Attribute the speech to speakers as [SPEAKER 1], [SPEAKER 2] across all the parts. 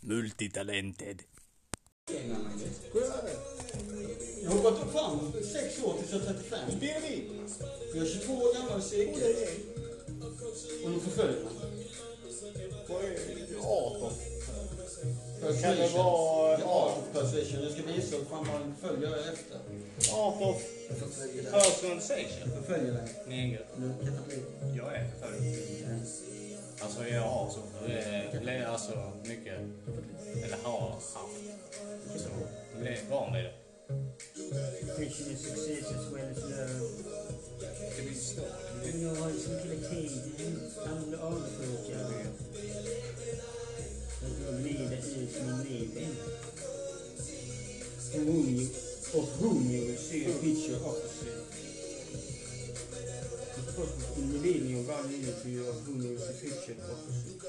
[SPEAKER 1] Multitalented.
[SPEAKER 2] Går jag över? Jag har gått fram sex år tills jag är 35.
[SPEAKER 3] Spelning!
[SPEAKER 2] Jag är 22 år gammal och sekel. Och de förföljer mig.
[SPEAKER 3] Vad är det? 18? Kan det
[SPEAKER 2] Persuasion.
[SPEAKER 3] vara-
[SPEAKER 2] Jag har fått persuasion. Jag ska visa hur fan man följer jag efter.
[SPEAKER 3] 18
[SPEAKER 2] Jag förföljer dig.
[SPEAKER 3] personal session?
[SPEAKER 2] Jag förföljer dig.
[SPEAKER 3] Neger.
[SPEAKER 2] Men det kan bli.
[SPEAKER 3] Jag är förföljd. Alltså jag har så. eh, le- Alltså mycket. Eller har haft. Så. Blev van vid det.
[SPEAKER 4] Preaching is success as well as love.
[SPEAKER 3] Det blir stort.
[SPEAKER 4] Men jag har liksom kollektiv, andra avundsjuka. Jag tror livet ut som en liv.
[SPEAKER 2] And whom you, of whom you will see a picture of yourself. In the living of God unity you of whom you will see a picture of yourself.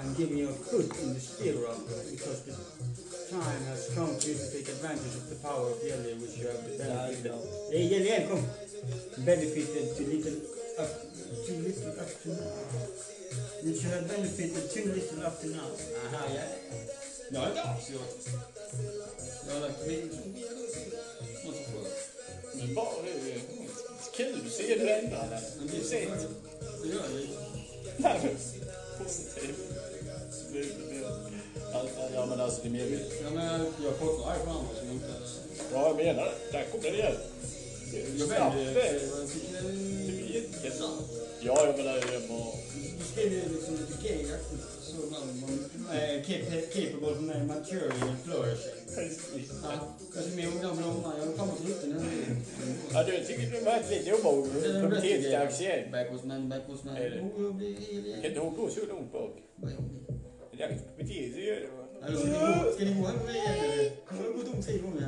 [SPEAKER 2] I'm giving you a foot in the steer of it because the time has come for you to take advantage of the power of Yele which you have benefited. Hey, Yele, come! Benefited to little up, too little up to now. Which you have benefited too little up to now. Aha, yeah. Jag är inte arg. Jag har lagt min... Någon som frågar.
[SPEAKER 3] Men bara det är kul. Ser du ändra det?
[SPEAKER 2] Men det
[SPEAKER 3] Du
[SPEAKER 2] är
[SPEAKER 3] ser inte.
[SPEAKER 2] sent. Det gör jag ju.
[SPEAKER 3] Nej, men positivt. Det är inte det. Alltså, Ja men alltså det är mer...
[SPEAKER 2] Jag menar, jag får inte arg på andra som inte...
[SPEAKER 3] Ja jag menar det. Där kommer det igen.
[SPEAKER 2] Jag
[SPEAKER 3] Snabbt.
[SPEAKER 2] vänder jag tycker
[SPEAKER 3] Det
[SPEAKER 2] det
[SPEAKER 3] är
[SPEAKER 2] är sant.
[SPEAKER 3] jättesant. Ja jag menar det är bara...
[SPEAKER 2] Du skriver ju liksom lite gay-aktigt. Så man... man eh, cap- capable of maturing and flourishing.
[SPEAKER 3] Precis.
[SPEAKER 2] Ja. Jag ser mer ungdom än ungdomar. Jag har kommit rutten nu.
[SPEAKER 3] Ja, du tycker du är verkligen dum och pubertetsaxel.
[SPEAKER 2] Backwards man, backwards man.
[SPEAKER 3] Är det?
[SPEAKER 2] Jo, jag blir helig.
[SPEAKER 3] Kan inte hon gå så långt bak? Det där beter sig ju.
[SPEAKER 2] Alltså, ska ni gå- ska ni gå hem med mig eller? Kommer det gå tom tid på mig?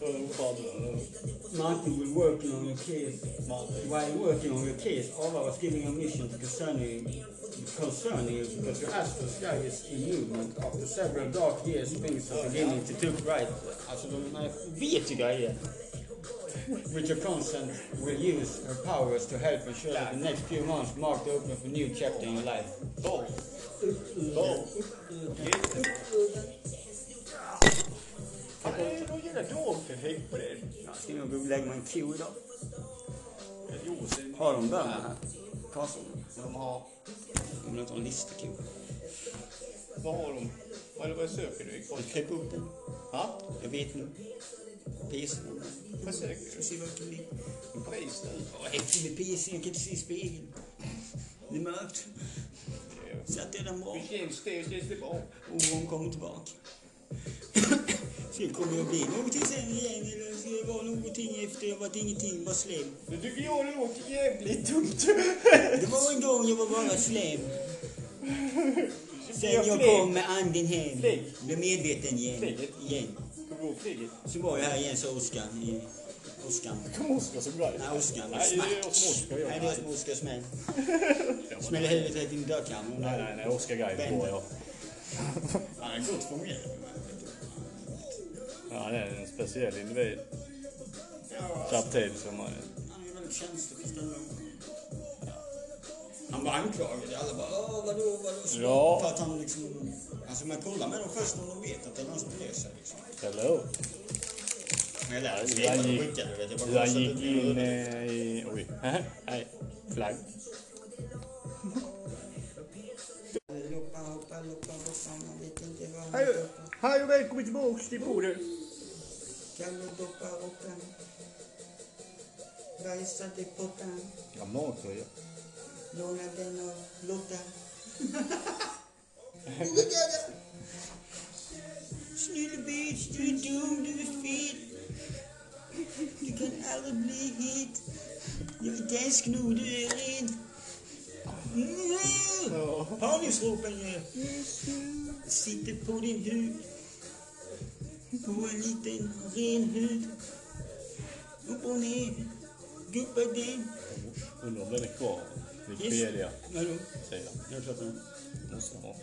[SPEAKER 3] Åh, fan.
[SPEAKER 2] Martin will working on your case.
[SPEAKER 3] Man.
[SPEAKER 2] While working on your case, Allah was giving you a mission concerning you, concerning you because your astral sky is in movement after several dark years things are beginning to look right. Alltså de här vet ju grejer. With your consent will use her powers to help ensure that the next few months mark the opening of a new chapter in your life.
[SPEAKER 3] Bak. Bak. Jätte. Fan, Det är någon jävla dageffekt på det.
[SPEAKER 2] Jag ska nog gå och lägga mig en ko idag.
[SPEAKER 3] Jo, sen-
[SPEAKER 2] Har de bönder här? Uh-huh. Karlsson?
[SPEAKER 3] De har...
[SPEAKER 2] De vill inte ha en listekor.
[SPEAKER 3] Vad har de? Vad är det vad söker du?
[SPEAKER 2] Kryp upp den.
[SPEAKER 3] Ja?
[SPEAKER 2] Jag vet nu. Pisen.
[SPEAKER 3] Vad söker
[SPEAKER 2] Jag
[SPEAKER 3] du?
[SPEAKER 2] ser vad jag kan ligga.
[SPEAKER 3] Pris nu.
[SPEAKER 2] Åh, Efter med pisen, jag kan inte se i spegeln. Det är mörkt. Satt jag den bra?
[SPEAKER 3] Hur känns det? Hur känns det bra?
[SPEAKER 2] Oron kommer tillbaka. Sen kommer jag bli någonting sen igen. Eller ska det vara någonting efter jag varit ingenting, bara slem.
[SPEAKER 3] Nu tycker jag det låter jävligt dumt.
[SPEAKER 2] Det var en gång jag var bara slem. Sen
[SPEAKER 3] Jag
[SPEAKER 2] jag
[SPEAKER 3] flög.
[SPEAKER 2] kom med anden hem.
[SPEAKER 3] Flög.
[SPEAKER 2] Blev medveten igen.
[SPEAKER 3] Flyget.
[SPEAKER 2] igen.
[SPEAKER 3] Kommer du ihåg flyget?
[SPEAKER 2] Så var jag här igen, sa Oskar. eh, Oskar.
[SPEAKER 3] Kom Oskar som guide.
[SPEAKER 2] Nej, Oskar.
[SPEAKER 3] Nej, det är jag som Oskar, jag.
[SPEAKER 2] Nej, det är jag som Oskar smäll. Smäller huvudet rätt in i dörrkarmen.
[SPEAKER 3] Nej, nej, nej. Oskar guide
[SPEAKER 2] Vänder.
[SPEAKER 3] går jag.
[SPEAKER 2] Han är gott formulerad.
[SPEAKER 3] Ja, han är en speciell individ. Samtidigt som han är...
[SPEAKER 2] Han är väldigt känslobestämd. Han var anklagad. Alla bara åh vadå, vadå? Så-
[SPEAKER 3] Ja.
[SPEAKER 2] För att han liksom... Alltså man kollar med dem först om de vet att det är någon som bryr sig. Liksom.
[SPEAKER 3] Hello.
[SPEAKER 2] Men jag lärde
[SPEAKER 3] Hur
[SPEAKER 2] mig
[SPEAKER 3] han
[SPEAKER 2] att
[SPEAKER 3] gick,
[SPEAKER 2] skicka det. vet Jag
[SPEAKER 3] hur
[SPEAKER 2] bara
[SPEAKER 3] han
[SPEAKER 2] kastade
[SPEAKER 3] gick
[SPEAKER 2] ut min
[SPEAKER 3] in
[SPEAKER 2] huvud.
[SPEAKER 3] eh, i... Oj. Nej. Flagg.
[SPEAKER 2] Loppa, hoppa, loppa, vad fan, man vet inte vad han
[SPEAKER 4] Hej
[SPEAKER 2] heter.
[SPEAKER 4] och- Hej och välkommen tillbaka till bordet.
[SPEAKER 2] Kalle doppa rocken. Bajsade pottan.
[SPEAKER 3] Ja, mattröja.
[SPEAKER 2] Lånade den av Lotta. Snälla bitch, du är dum, du är fet. Du kan aldrig bli het. Jag är dansk nu, du är ren. Mm. Honungsropen jag. Sitter på din hud. På en liten ren hud. Upp och ner. Gubbar den.
[SPEAKER 3] Undrar om den är kvar. Wikipedia
[SPEAKER 2] Vadå?
[SPEAKER 3] säger
[SPEAKER 2] Jag tror att den...
[SPEAKER 3] Måste ha.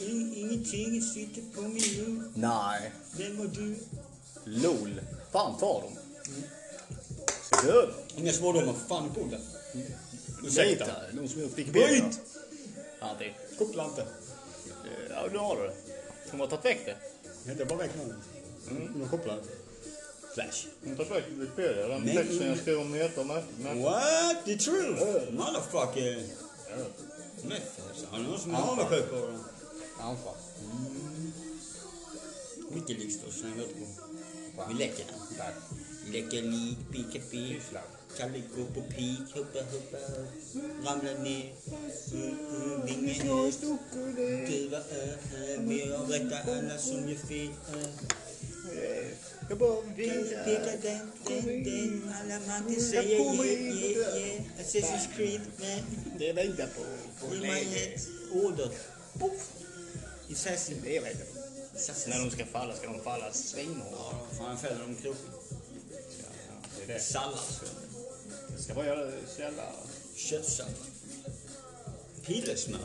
[SPEAKER 4] In, ingenting sitter på min nu.
[SPEAKER 3] Nej.
[SPEAKER 4] Vem och du?
[SPEAKER 3] LOL. Fan ta dem. Ser du över?
[SPEAKER 2] Inga svordomar, för fan i podden.
[SPEAKER 3] Ursäkta.
[SPEAKER 2] Lite.
[SPEAKER 3] De som är
[SPEAKER 2] Skit!
[SPEAKER 3] sticker benen. Antti, koppla inte. Eh, Ja, nu har du det. Hon har tagit väck det.
[SPEAKER 2] Jag bara väck nu. Mm. Jag kopplar. Flash.
[SPEAKER 3] Hon har tagit väck Wikipedia. Den
[SPEAKER 4] Nej.
[SPEAKER 3] texten jag skrev om heter Märkligt.
[SPEAKER 4] What? The truth? Motherfucker! Method. Har någon som är avundsjuk på dem?
[SPEAKER 2] Anfall.
[SPEAKER 4] Mycket lyxdås som jag hört på. Vi läcker den. Läcker lik, pika pik. Kalle går på pik, hoppa hoppa. Ramlar Mm, ner. Vinge ut. Duva ö, ö. Vi har rätta alla som gör fel. ö.
[SPEAKER 3] Jag bara
[SPEAKER 4] Peka,
[SPEAKER 3] vilar.
[SPEAKER 4] peka den, den, den. Alla mannen säger yeah, yeah, yeah. Assassin's Creed, man.
[SPEAKER 3] Det väntar på. på
[SPEAKER 4] In my head.
[SPEAKER 3] läget.
[SPEAKER 4] Order. Poff. Assassin.
[SPEAKER 3] Det väntar på.
[SPEAKER 4] Assassin.
[SPEAKER 3] När de ska falla ska de falla svinhårt.
[SPEAKER 4] Ja, fan fäller de kroppen.
[SPEAKER 3] Ja, det är det.
[SPEAKER 4] Sallad.
[SPEAKER 3] Jag ska bara göra det så jävla...
[SPEAKER 4] Köttsallad. Pilesmör.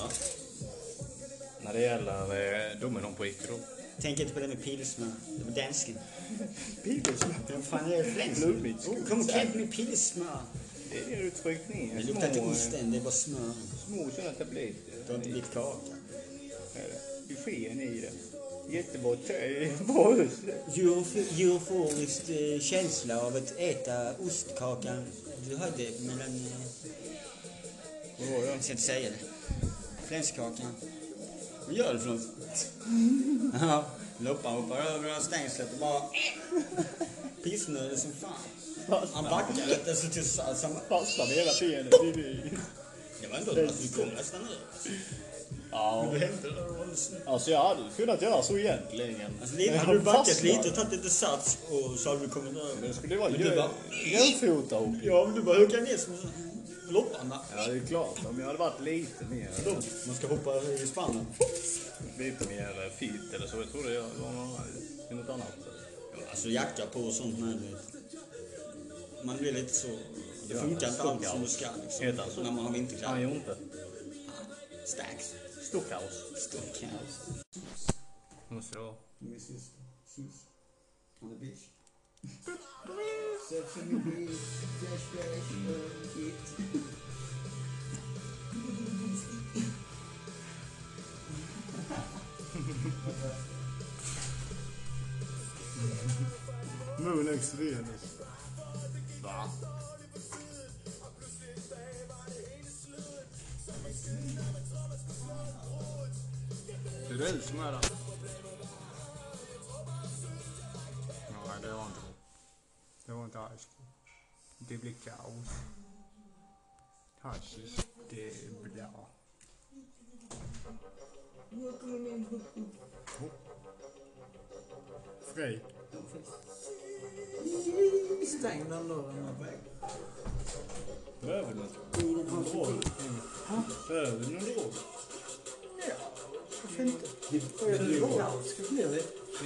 [SPEAKER 3] När det gäller eh, domen på Icke då.
[SPEAKER 4] Tänk inte på det med pilesmör. Det var dansken.
[SPEAKER 3] Pilesmör.
[SPEAKER 4] Vad fan är det för dans?
[SPEAKER 3] Blommigt.
[SPEAKER 4] Oh, Kom och klipp med pilesmör.
[SPEAKER 3] Det är det du tryckt ner.
[SPEAKER 4] Det luktar inte
[SPEAKER 3] Små, eh,
[SPEAKER 4] ost än, det är bara smör.
[SPEAKER 3] Små sådana tabletter.
[SPEAKER 4] Det har inte blivit kaka.
[SPEAKER 3] Är det? Det är sken i det. Jättebra te. Bra öst.
[SPEAKER 4] Eurofo- Euforisk eh, känsla av att äta ostkakan du hade mellan... eh,
[SPEAKER 3] Vad var det?
[SPEAKER 4] Jag ska inte säga det. Flenskakan. Vad gör du för något? Ja, loppan hoppar över stängslet och bara... Pissnödig som fan. Han backar lite så till så han-
[SPEAKER 3] Fastnade hela benet i det.
[SPEAKER 4] Det var ändå att du kom nästan över.
[SPEAKER 3] Ja.
[SPEAKER 4] Det hände där och var snyggt.
[SPEAKER 3] Alltså jag hade kunnat göra så egentligen.
[SPEAKER 4] Alltså lite,
[SPEAKER 3] Men
[SPEAKER 4] hade du
[SPEAKER 3] han
[SPEAKER 4] backat
[SPEAKER 3] fastnade.
[SPEAKER 4] lite och tagit lite sats och så hade du kommit över.
[SPEAKER 3] Det skulle ju vara
[SPEAKER 4] Men du
[SPEAKER 3] jö-
[SPEAKER 4] bara-
[SPEAKER 3] jämfota upp.
[SPEAKER 4] Ja, men du bara hukar ner som lopparna.
[SPEAKER 3] Ja det är klart. Om jag hade varit lite mer.
[SPEAKER 4] Man ska hoppa i spannen.
[SPEAKER 3] Lite mer fit eller så. Jag trodde jag var något- något annat.
[SPEAKER 4] Alltså jacka på och sånt med. vet. Man blir lite så... Det funkar inte alls som det ska
[SPEAKER 3] Heter han så?
[SPEAKER 4] liksom. När man har
[SPEAKER 3] Han
[SPEAKER 4] vinterkläder.
[SPEAKER 3] gjorde inte.
[SPEAKER 4] Stacks.
[SPEAKER 3] Stockhaus.
[SPEAKER 4] Stunkhouse.
[SPEAKER 3] Måste det vara.
[SPEAKER 2] Mrs. Sus on the beach. Sex on the beach, flash, flash, uh, heat.
[SPEAKER 1] Moon X Venus.
[SPEAKER 3] Va?
[SPEAKER 1] Det är du som är där. Nej, det var inte det. var inte alls Det blir kaos. Hashish, det är bra. Frej.
[SPEAKER 4] Stäng den dörren.
[SPEAKER 3] Behöver du något? Behöver du något råd?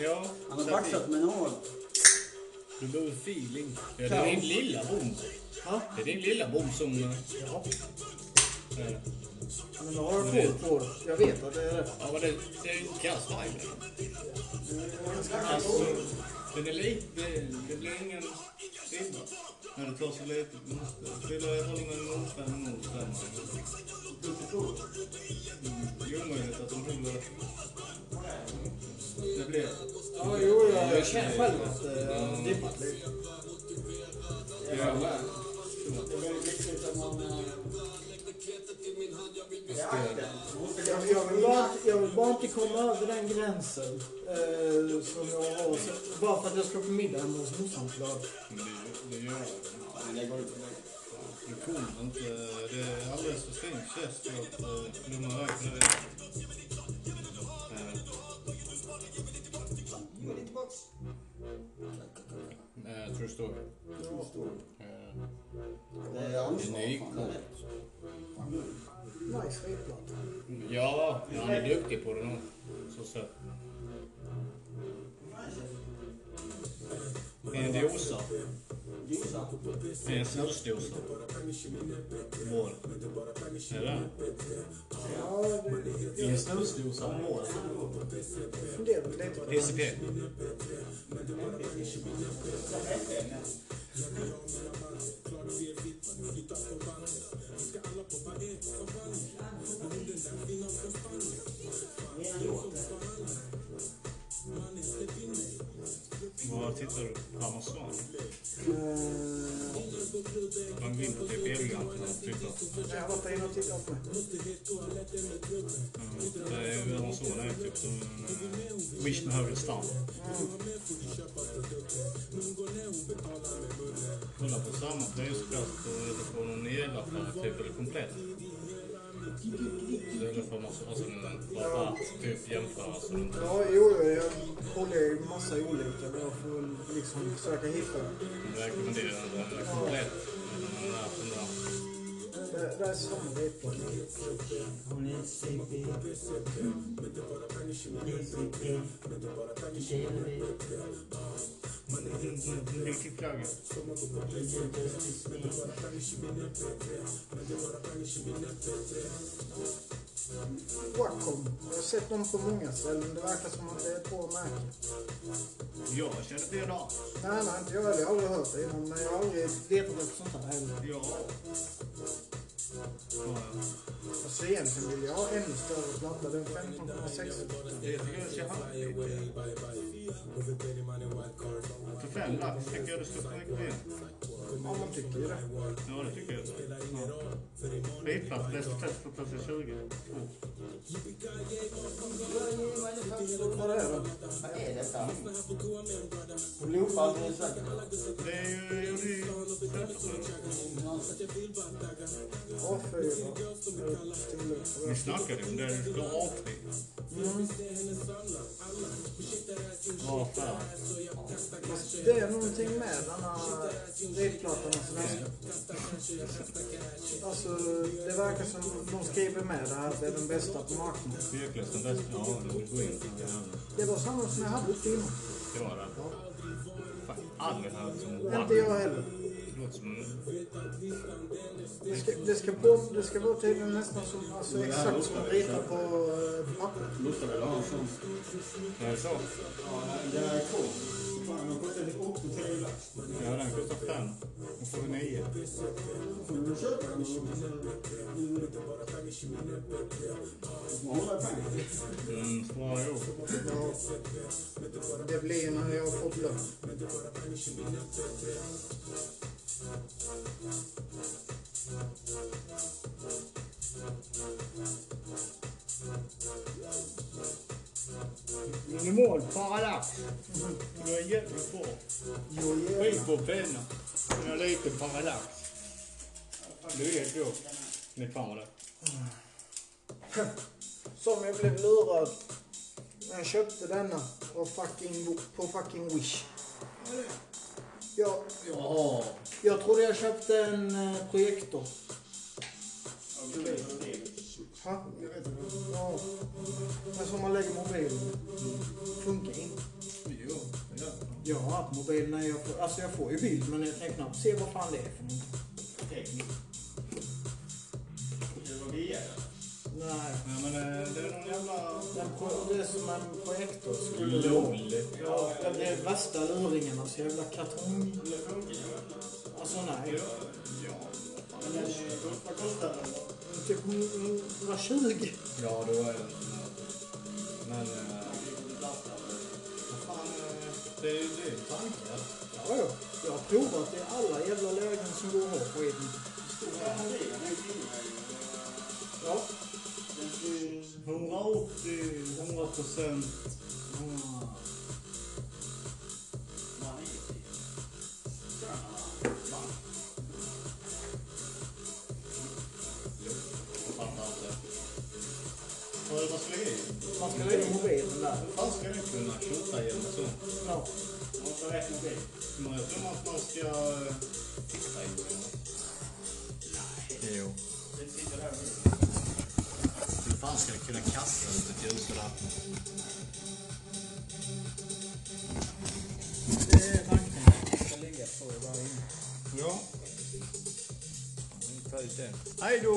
[SPEAKER 3] Ja.
[SPEAKER 4] Han har baxat med en hål.
[SPEAKER 3] Du behöver feeling. Ja, det är din lilla bomb. Det är din lilla bomb som... eh, eh,
[SPEAKER 2] Men då har du koll på det. Jag vet att det är rätt.
[SPEAKER 3] Ja, men det, det är en kass vibe. Alltså, den är lite... Det blir ingen ribba. När det tar så lite... Fyller jag håller med 05 mot 5. Det är omöjligt att de håller... Det blir...
[SPEAKER 2] Ja, jo, jag, jag känner själv att eh, det har dippat lite. Det
[SPEAKER 3] Ja.
[SPEAKER 2] är väldigt viktigt att man... eh,
[SPEAKER 5] Jag jag vill, bara, jag vill bara inte komma över den gränsen eh, som jag har. Så, bara för att jag ska på middag hemma hos morsan såklart.
[SPEAKER 3] Men det, det gör det.
[SPEAKER 4] Men det går ut.
[SPEAKER 3] Det kommer inte. Det är alldeles för stängt känns det att eh, när man räknar det. Nej, true story. Eh,
[SPEAKER 4] Det är
[SPEAKER 3] En
[SPEAKER 4] ansvar.
[SPEAKER 3] ny
[SPEAKER 4] fan.
[SPEAKER 3] kort.
[SPEAKER 5] Nice skivplatta.
[SPEAKER 3] Ja, han är duktig på det nog. Så sett. En dosa.
[SPEAKER 6] dosa.
[SPEAKER 7] En snusdosa. Mål. Eller?
[SPEAKER 5] Ja, det-
[SPEAKER 7] I en snusdosa mål.
[SPEAKER 5] jag funderar lite på det.
[SPEAKER 7] PCP. Vad tittar du på? Amazon?
[SPEAKER 5] Eh,
[SPEAKER 7] Man går in på typ Elgiganten och tittar.
[SPEAKER 5] Jag hoppar in och tittar på det.
[SPEAKER 7] Mm, Det är ju Amazon är typ som en Wish med högre standard. Kolla på samma prisklass på på någon elaffär typ eller komplett. Så eller får man så alltså en rabatt typ jämföra så den
[SPEAKER 5] Ja, jo, jag kollar ju massa olika. men Jag får väl liksom försöka hitta.
[SPEAKER 7] rekommenderar den är komplett. Eller den där som där.
[SPEAKER 5] Det, det är samma vete.
[SPEAKER 7] Vilket plagg?
[SPEAKER 5] Wacom. Jag har sett dem på många ställen. Det verkar som att det är ett bra märke.
[SPEAKER 7] Jag känner för idag.
[SPEAKER 5] Nej, nej, inte jag heller. Jag har aldrig hört det innan. Men jag har aldrig letat efter sånt här heller.
[SPEAKER 7] Ja. Ja, ja.
[SPEAKER 5] Alltså egentligen vill jag ha ännu större platta. Den 15,6.
[SPEAKER 7] Det tycker jag ska handla lite. För fem lax tycker jag du ska ta mycket mer.
[SPEAKER 5] Ja, man tycker ju det.
[SPEAKER 7] Ja, det tycker jag. Ja. Skitplats, bäst test på plats 20. Mm.
[SPEAKER 5] Vad är det?
[SPEAKER 8] Vad är detta?
[SPEAKER 6] Loopar du säkert?
[SPEAKER 7] Det är ju... Det är ju...
[SPEAKER 5] A4.
[SPEAKER 7] Ni snackade ju om det. Du har apning. Bra affär.
[SPEAKER 5] Fast Det är någonting med den här driftplattan och sådär. Alltså, det verkar som de skriver med det här att det är den bästa på marknaden.
[SPEAKER 7] Tveklöst den bästa. Ja, du vill gå in.
[SPEAKER 5] Det var samma som jag hade uppe innan.
[SPEAKER 7] Det var det. Fan, aldrig hört som
[SPEAKER 5] Inte jag heller.
[SPEAKER 7] Det låter som... Mm.
[SPEAKER 5] Det ska, det ska, på, det ska vara tydligen nästan som, alltså exakt som att rita på eh, papper.
[SPEAKER 2] Luktar väl av en sån.
[SPEAKER 7] Är det så?
[SPEAKER 2] Ja, den är cool. Fan, den kostar 83 lax.
[SPEAKER 7] Ja, den kostar fem. Då får vi nio.
[SPEAKER 2] Får du köpa den? Du får hålla i pengarna.
[SPEAKER 7] Mm, små ihop.
[SPEAKER 5] Ja. Det blir när jag har fått lön.
[SPEAKER 7] Minimal parallax. Det är jävligt bra.
[SPEAKER 5] Jo,
[SPEAKER 7] Skit på penna. Jag är lite parallax. Du är då. Ni fan vad det.
[SPEAKER 5] Som jag blev lurad när jag köpte denna på fucking, på fucking Wish. Jag,
[SPEAKER 7] Jaha.
[SPEAKER 5] jag trodde jag köpte en eh, projektor. Ha? Jag vet inte. Ja. Men som man lägger mobilen. Funkar inte.
[SPEAKER 7] Jo. Ja.
[SPEAKER 5] Jag har haft mobil när jag får, alltså jag får ju bild men jag kan knappt se vad fan det är för någonting. Nej.
[SPEAKER 7] Nej men eh, det är någon jävla...
[SPEAKER 5] Den pro- det är som en projektor skulle det vara. Ja, det blev värsta luringen. Alltså jävla kartong... Alltså nej.
[SPEAKER 2] Vad kostar den?
[SPEAKER 5] Typ 120.
[SPEAKER 7] Ja då är det. Men... eh, Vad fan. eh, Det är ju det är tankar.
[SPEAKER 5] Ja, ja. Jag har provat i alla jävla lägen som går att ha skiten. Ja.
[SPEAKER 7] 180, 100 procent. Vad ska jag göra?
[SPEAKER 5] Man ska lägga mobilen där.
[SPEAKER 7] Fan ska ni Alltså, kunna tjota genom sånt?
[SPEAKER 5] Ja.
[SPEAKER 7] Men jag tror att man ska... eh, Titta in Nej. Jo. Hur fan ska jag kunna kasta ut ett ljus sådär?
[SPEAKER 5] Det är tanken. Det ska ligga.
[SPEAKER 1] Får jag bara in? Ja.
[SPEAKER 3] Ta ut den.
[SPEAKER 1] Hej då!